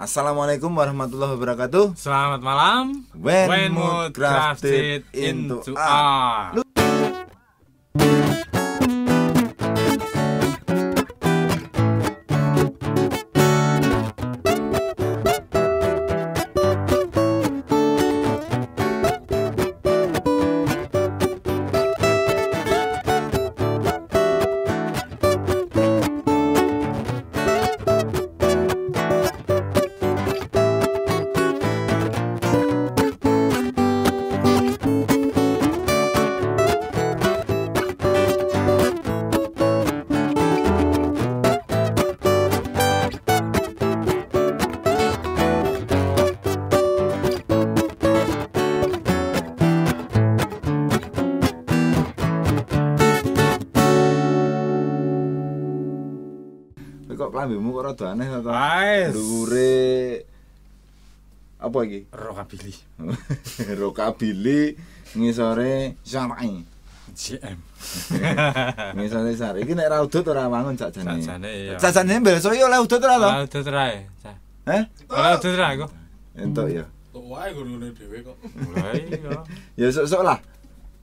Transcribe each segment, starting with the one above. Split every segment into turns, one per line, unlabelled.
Assalamualaikum warahmatullahi wabarakatuh.
Selamat malam.
When,
When
mood
mood
crafted
crafted
into
into
art.
art.
Lu- Lu Kok klambimu kok rada aneh kok.
Guys.
Dure apa iki?
Rockabilly
Rokabili ngisore syar'i.
GM.
Ngisore syar'i. Iki nek ra udut ora wangun sajane.
Sajane, iya.
Sajane besok yo oleh udut ora to?
Ora udut rae.
Heh?
Ora udut rae kok.
Entuk yo.
Tuh wae gurune dhewe kok.
Lah iya.
Ya sok-sok lah.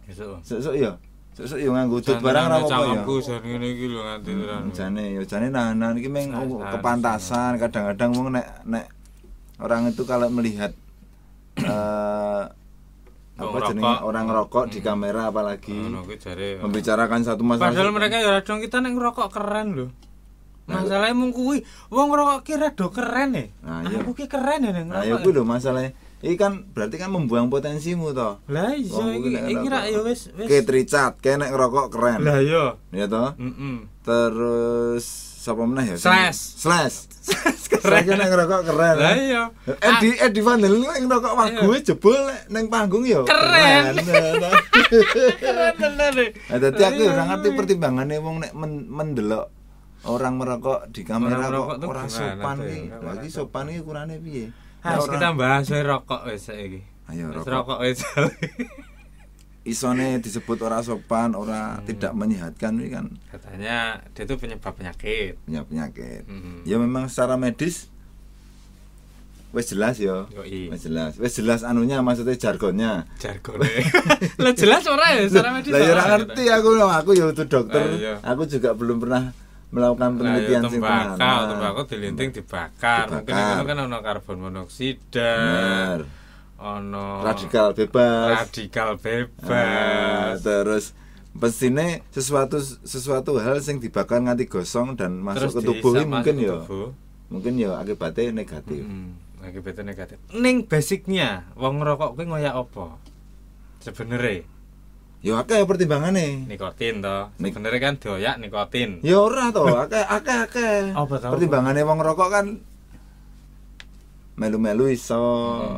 Besok.
Sok-sok yo. Sok-sok yo nganggo udut barang ora apa-apa yo.
Cangkemku jan ngene iki lho nganti ora.
Hmm, Jane yo jane nahanan iki meng
Nahan,
oh, kepantasan kadang-kadang wong nek nek orang itu kalau melihat eh apa
Wong
jenenge
rokok.
orang rokok di
Hmm.
kamera apalagi
Ngono kuwi jare. ya.
membicarakan satu masalah. Nah,
Padahal mereka ya radong kita neng rokok keren lho. Masalahnya mung kuwi wong ngerokok ki rada keren ya.
Nah, iya.
Aku ki keren ya neng
Nah, ya
ngerokok.
kuwi lho masalahnya. Iki kan berarti kan membuang potensimu toh.
Lah iya
Wong
iki
kuwi nek
iki ra
ngerokok.
ya wis wis.
Kate Richard, kayak nek ngerokok keren.
Lah iya.
Ya toh?
Heeh.
Terus siapa meneh ya?
Slash.
Slash. Slash ki nek ngerokok keren.
Lah iya. Ah.
Edi Edi Van Halen ning rokok wagu jebul nek ning panggung ya.
Keren.
Keren.
Keren bener. ya.
Nah, dadi aku ora ngerti pertimbangane wong nek men- mendelok orang merokok di kamera
Orang merokok
kok
tuh
ora
gimana
sopan
tuh ya?
iki.
Nggak
Lagi
orang
sopan iki kurane piye? Nek
Harus
orang
kita bahas soal rokok wis
Ayo,
saiki. Wis
Ah, Iya, rokok.
rokok wis.
isone disebut ora sopan,
Hmm.
ora tidak menyehatkan iki kan
Katanya dia itu penyebab penyakit.
punya penyakit.
Mm-mm.
Ya memang secara medis wis jelas ya.
Yoi.
Wis jelas. Wis jelas anunya maksudnya jargonnya.
Jargone. Lah jelas ora ya secara medis.
Lah ya
ora.
ora ngerti aku aku ya itu dokter.
Lah, Ah, iya.
Aku juga belum pernah melakukan
Lah ya
penelitian sing
tembakau,
tenanan.
tembakau dilinting dibakar. Mungkin
Dibakar.
itu kan ono karbon monoksida.
Bener.
Ono
Radikal bebas.
Oh. radikal
Ah,
bebas.
terus pesine sesuatu sesuatu hal sing dibakar nganti gosong dan masuk ke tubuh
dihisap
ini mungkin
masuk ke
ya.
tubuh.
Mungkin ya akibatnya negatif.
Hmm, akibatnya negatif. Ning basicnya wong ngerokok kuwi ngoyak apa? Sebenere
Ya akeh pertimbangane.
nikotin to.
Nik-
Sebenere kan dioyak nikotin.
Ya ora to, akeh akeh akeh.
Apa tau?
Pertimbangane wong rokok kan melu-melu iso,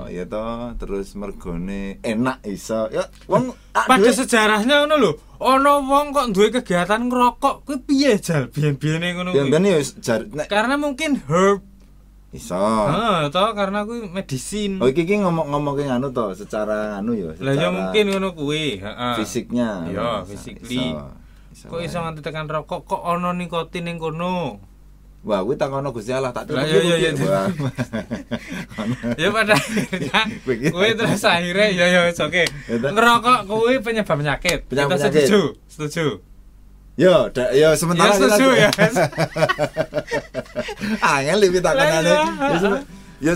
Hmm.
ya to, terus mergone enak iso. Ya wong tak
Pada
duwe-
sejarahnya ngono lho. Ana wong kok duwe kegiatan ngerokok kuwi piye jal biyen-biyene ngono kuwi.
biyen-biyen ya wis jar nek
Karena mungkin herb.
iso.
Heeh, to karena kuwi medisin.
Oh iki iki ngomong-ngomongke anu to, secara anu ya,
Lah
secara
ya mungkin ngono kuwi, heeh.
fisiknya.
Iya,
Iso,
physically.
iso, iso
Kok
wae.
iso nganti tekan rokok kok ana nikotin ning kono?
Wah, kuwi takono Gusti Allah tak
Lah,
terus.
iya, iya, iya. ya pada akhirnya
Begitu.
kue terus akhirnya ya ya it's oke
Itu.
ngerokok kue penyebab penyakit
Penyebab
kita
penyakit.
setuju setuju
Yo, da, yo sementara
Ya, setuju, ya.
Angel Ah, lebih eh.
Lah,
takanane.
iya.
Ya, sebe- Ya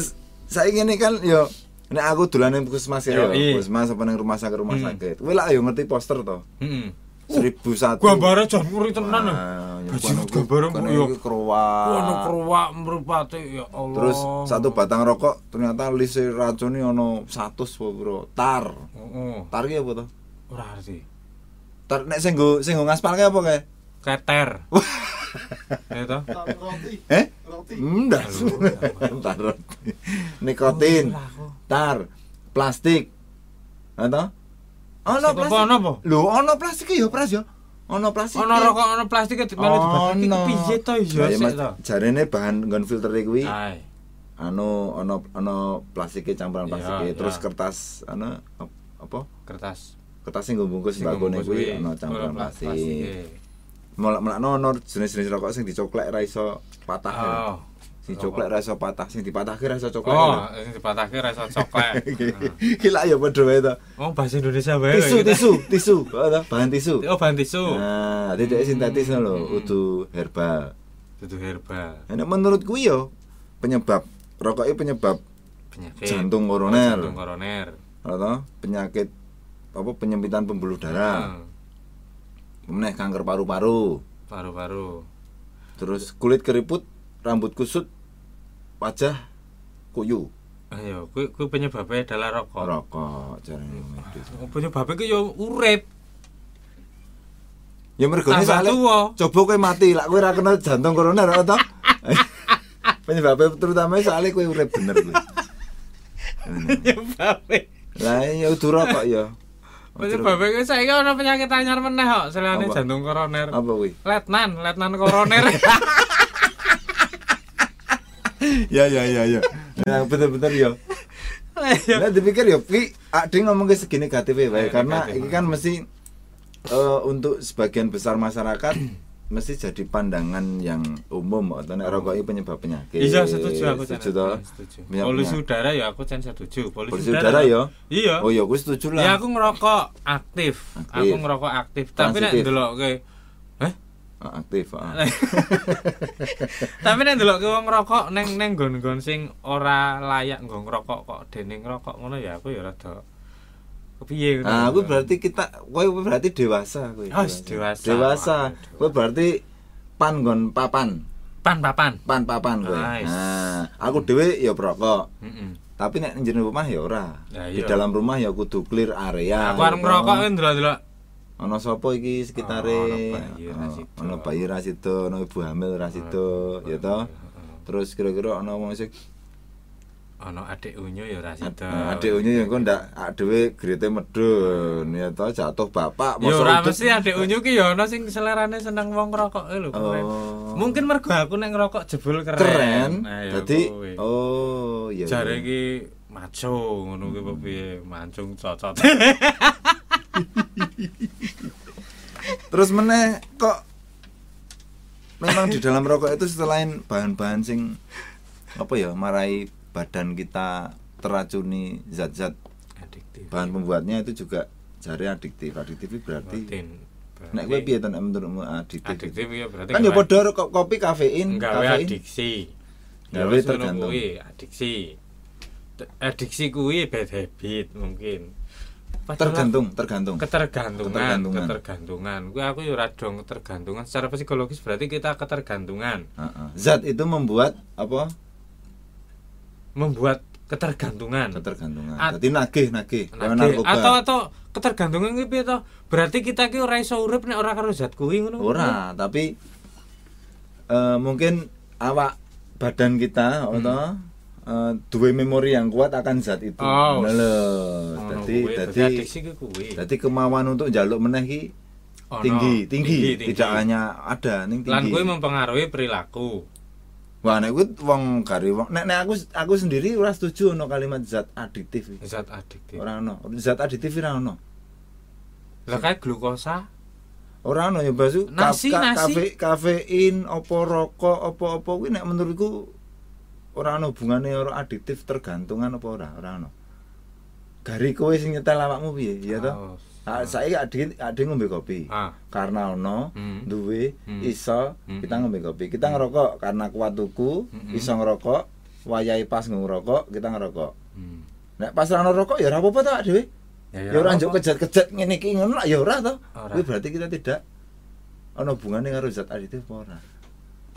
saya ngene kan yo nek aku dolan ning puskesmas ya, yo,
Yoi.
puskesmas apa ning rumah sakit rumah
Hmm.
sakit. Kuwi lah yo ngerti poster to.
Heeh.
1001.
gambare jan muri Uh, tenan lho
Wah, ya, Ah,
Bajingan
kono kuwi-
gambaran
kono
kuwi yo.
kuwi keruak.
ono keruak merupati ya Allah
Terus satu batang rokok ternyata lise racune ono 100 apa bro. Tar.
heeh
Tar ki apa to?
ora ngerti
Tar nek sing nggo sing nggo ngaspal ki apa kae?
keter ya toh
Roti,
Eh?
roti.
Enggak. Tar. Nikotin.
Ora aku.
Tar. Plastik. Atau? Ono
Plastik apa, ono apa?
Lho, ono plastik ya, Pras ya. ono plastik
Ono rokok ono plastik ke melu dibagi
Ono.
piye to yo
Lah, ya,
sik Ah.
Mas,
to.
jarene bahan nggon filter kuwi
Ai.
anu ono ono plastiknya campuran
Iya,
plastiknya
iya.
terus kertas anu ap- apa
Kertas.
kertas sing nggo bungkus
Sing
bakone
bungkus
kuwi
kuwi.
ono campuran
Ono
plastik.
plastike.
Melak-melakno ono jenis-jenis rokok sing dicoklek ra iso patah. ya.
Oh.
Sing coklek ra iso patah, sing dipatahke ra iso coklek.
Oh,
ya.
sing dipatahke ra iso coklat.
Gila ya padha wae to.
Oh, bahasa Indonesia wae.
Tisu,
kita.
tisu, tisu, Oh, toh, bahan tisu.
Oh, Hmm. bahan tisu.
Nah, tidak sintetis ngono lho, udu herbal.
Dudu herbal.
Nah, nek menurut kuwi yo penyebab rokoknya penyebab
Penyakit. Oh,
jantung koroner.
Jantung koroner.
atau penyakit apa penyempitan pembuluh darah,
Hmm.
meneh kanker paru-paru,
Paru-paru.
terus kulit keriput, rambut kusut, wajah kuyu,
Ayo, kuwi kuwi penyebabnya adalah rokok. Oh,
rokok jarene medis.
Penyebabnya kuwi yo urip.
Ya mergo
Tambah
soalnya
tuwa.
coba kowe mati, lak kowe ra kena jantung koroner atau penyebabnya terutama soalnya kowe urip bener kowe.
Penyebabnya.
Lah ya
iya,
udu rokok ya.
Oh, Penyebabnya kuwi saiki ono penyakit anyar meneh kok selain
Apa?
jantung koroner.
Apa kuwi?
Letnan, letnan koroner.
Ya ya ya ya. Nah, bener-bener ya.
Lah, yo.
Nah, dipikir ya, Pi, ada yang ngomong ke segini KTP,
Ya,
baik. Karena
negatif.
ini kan mesti eh, untuk sebagian besar masyarakat mesti jadi pandangan yang umum atau nek rokok itu penyebab penyakit.
Iya setuju aku Chan.
Setuju toh?
Setuju.
Penyebab
Polusi
penyakit.
udara ya aku Chan setuju.
Polusi udara ya.
Iya.
Oh ya, aku setuju lah.
Ya aku ngerokok aktif.
Aktif.
Aku ngerokok aktif. Tapi nek
Transitif.
ndelokke Heh?
Ah, aktif. ah.
Tapi nek ndelokke wong ngerokok neng neng gon-gon sing ora layak nggo ngerokok kok dene ngerokok ngono ya aku ya rada kepiye ngono.
Nah, Ah, aku berarti kita, kowe berarti dewasa kowe.
Oh, dewasa.
Dewasa.
Waduh.
Kowe berarti pan gon papan,
pan papan.
pan papan kowe.
Nice.
Nah, aku dhewe ya perokok.
Heeh.
tapi nek njeneng rumah ya ora.
Ya,
di
iya.
dalam rumah ya kudu clear area.
Aku arep
gitu.
ngerokok kan ndelok-ndelok.
Ana sapa iki Ah, sekitare?
Oh, ana bayi
Ana bayi ra
ra sido.
sido, ana ibu hamil ra sido, ya toh. Terus kira-kira ana wong sing
Oh, Ono adik unyu ya ora sida.
ah, adeknya yang kok ndak ak dhewe grete medun, ya toh jatuh bapak
Ya
masa
ora
udah-
mesti adek unyu ki ya ono sing selerane seneng wong ngerokok e lho keren.
Oh.
Mungkin mergo aku nek ngerokok jebul keren.
keren.
Nah, ya
Dadi
kuwi.
oh iya. iya.
jare iki maco ngono kuwi apa piye mancung cocot.
Terus meneh kok memang di dalam rokok itu selain bahan-bahan sing apa ya marai badan kita teracuni zat-zat
Adiktif.
bahan pembuatnya itu juga jari adiktif. Adiktif itu berarti
Rutin.
nek kowe piye to nek menurutmu adiktif?
Adiktif ya berarti
Kan ya
ngewe-
padha rokok kopi kafein,
nggawe
kafein.
adiksi.
Nggawe
Terus Ya ngono
tergantung.
kuwi adiksi. T- Adiksi kuwi bad habit mungkin. Padahal-
Tergantung, tergantung.
ketergantungan
Ketergantungan.
ketergantungan kuwi aku ya ora dong ketergantungan secara psikologis berarti kita ketergantungan
Heeh. Zat itu membuat apa?
membuat ketergantungan
Ketergantungan.
At-
Jadi nagih, nagih. Kayak
Anu. Nagih.
narkoba.
atau atau ketergantungan kuwi piye to berarti kita ki ora iso urip nek ora karo zat kuwi ngono
ora tapi eh, mungkin awak badan
Hmm.
kita atau eh, duwe memori yang kuat akan zat itu
Oh.
Ngono lho
Ngono
dadi
kuwi, berarti
dadi
adiksi ki kuwi
dadi kemauan untuk jaluk meneh ki
Ono.
tinggi, tinggi tidak
Oh, tinggi.
hanya ada ning
lan
tinggi
kuwi mempengaruhi perilaku
wah nek kuwi wong gari wong nek nek aku aku sendiri ora setuju ono kalimat zat aditif iki.
zat adiktif
ora ono zat aditif ora ono
lah kayak glukosa
Ora ono ya Basu. Ka-
Nasi,
ka-
nasi.
kafe- kafein apa rokok apa-apa kuwi nek menurutku ora ono hubungane ora aditif tergantungan apa ora, ora ono. Gari kowe sing nyetel awakmu piye, ya
Oh,
to? Ah, saiki ade ade ngombe kopi.
ah
Karena ono
Hmm.
duwe
Hmm.
iso
Hmm.
kita ngombe kopi. Kita ngerokok karena kuat tuku,
Hmm.
iso ngerokok, wayahe pas ngerokok, kita ngerokok.
hmm.
Nek pas ora ono rokok ya ora apa-apa ta dhewe. Ya ora njuk
apa-apa.
kejat-kejat ngene iki ngono lah ya ora to.
Ora.
Kuwi berarti kita tidak ana hubungane karo zat aditif apa ora.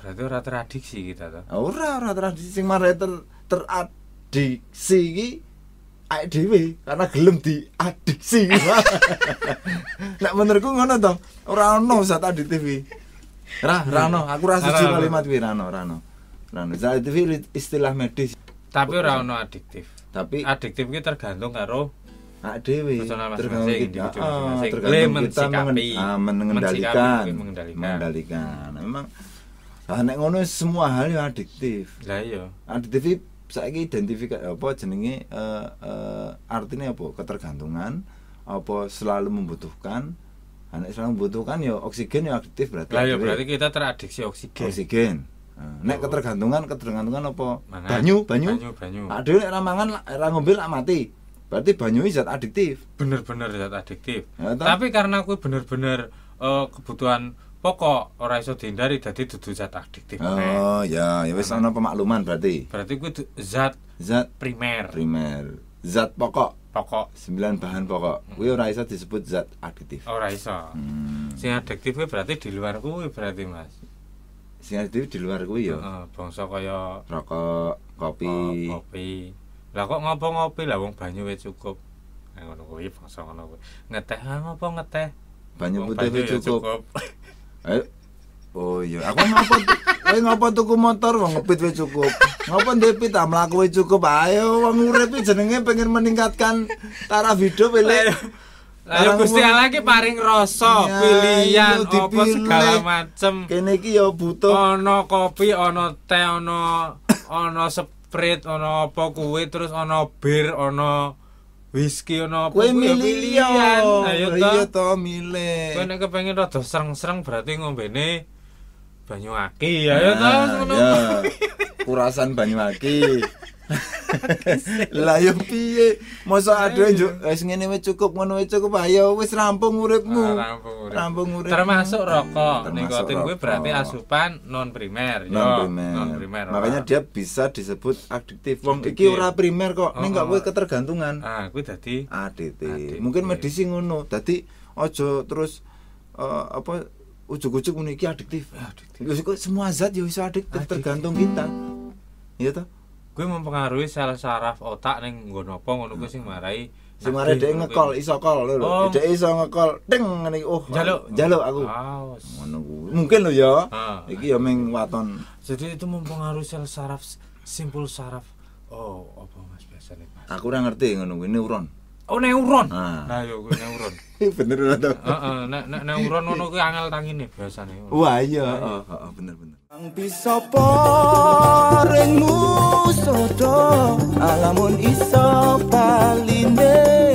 berarti ora teradiksi kita to
Ah, Ora ora tradisi sing mare ter teradiksi iki awake dhewe karena gelem diadiksi. Nek menurutku ngono to. Ora ono zat aditif iki. Ra, ra ono. Aku ra setuju
Ora, ora.
kalimat kuwi ra ono, ra ono. Ra ono. Zat aditif istilah medis,
tapi ora ono adiktif
tapi
adiktif ki tergantung karo
hak dhewe
Personal
tergantung
masing-masing,
kita
individu
ah,
masing-masing. Le
tergantung kita
mensikapi,
mengen- ah,
mensikapi,
mengendalikan
mungkin mengendalikan.
mengendalikan Nah, memang ah, nek ngono semua hal ya adiktif
Lah iya.
adiktif saiki identifikasi apa jenenge eh, eh, artinya apa ketergantungan apa selalu membutuhkan anak selalu membutuhkan ya oksigen ya adiktif berarti
Lah
adiktif.
iya berarti kita teradiksi oksigen.
oksigen Nah, nek
Oh.
ketergantungan ketergantungan apa
Mangan.
banyu banyu
Banyu, banyu.
Aduh, nek ra mangan lak- ra ngombe lak mati berarti banyu ini zat adiktif
Bener-bener zat adiktif.
Ya, toh.
Tapi karena aku bener-bener eh, kebutuhan pokok ora iso dihindari dadi dudu zat adiktif. Nek.
Oh ya, ya wis ana pemakluman berarti.
Berarti kuwi du- zat
Zat
primer,
primer, zat pokok,
pokok
sembilan bahan
Hmm.
pokok. Kuwi ora iso disebut zat adiktif.
ora iso.
Hmm.
Oh. Sing adiktif kuwi berarti di luar kuwi berarti Mas.
Sing adiktif di luar kuwi ya.
Heeh, bangsa kaya
Rokok, kopi.
Oh, kopi. Lah kok ngopo ngopi lah wong banyu wis cukup. Nah, ngono kuwi bangsa ngono kuwi. Ngeteh ah, ngopo ngeteh?
Banyu
Wong
putih wis
ya
cukup. Eh, Oh iya, aku ngopo Kowe ngopo tuku motor wong ngepit wis cukup. Ngopo ndepit ta ah, mlaku wis cukup. Ah, Ayo wong urip iki jenenge pengen meningkatkan taraf hidup
Lah,
elek.
Lah ya
Orang
Gusti
ngomong-
Allah ki paring rasa,
Ya,
pilihan
iya,
apa segala
dipilih.
macem.
Kene iki ya butuh
Ono kopi, ono teh, ono ono sprite, ono apa kuwi terus ono bir, ono whisky, ono apa
Kue
kuwi, ya
milih yo.
Ayo
Iya to
to.
milih.
Kowe nek kepengin rada sereng-sereng berarti ngombene banyu aki ya ya to
Nah,
ngono.
ya. Kurasan Banyuwangi. Lah yo piye? Mosok aduh njuk wis ngene wis cukup ngono wis cukup ayo wis rampung uripmu.
Ah, rampung urip.
Rampung urip.
Termasuk rokok.
Termasuk
Nikotin kuwi
rokok.
berarti asupan non primer. yo.
non
Non
primer.
primer.
Makanya dia bisa disebut adiktif. Wong iki
Adiktif.
ora primer kok. Ning kok
Oh,
kowe
oh.
ketergantungan.
Ah, kuwi dadi
ADT.
ADT.
e. Mungkin medisi ngono. Dadi ojo terus eh, apa ujug-ujug ngono iki adiktif.
Ah, Adiktif.
Lho, kok semua zat ya iso adiktif tergantung kita. Iya toh?
kuwi mempengaruhi sel saraf otak ning nggon apa ngono kuwi sing marai.
Sing mare dhek ngekol iso kol lho. lho.
Oh.
Dhek iso ngekol deng ngene iki. Oh,
Jaluk.
Jaluk aku.
Aus.
Ngono kuwi. Mungkin lho ya.
Ah.
Iki ya ming waton.
Jadi itu mempengaruhi sel saraf simpul saraf. Oh, apa Mas biasane, Mas?
Aku ora ngerti ngono kuwi neuron.
Oh, neuron.
Ah.
Nah, yo kuwi neuron.
bener ora toh?
Heeh, nek nek neuron ngono kuwi angel tangine biasane.
Wah iya, heeh, heeh, bener bener.
Kang bisa paring musrodo alamun iso paline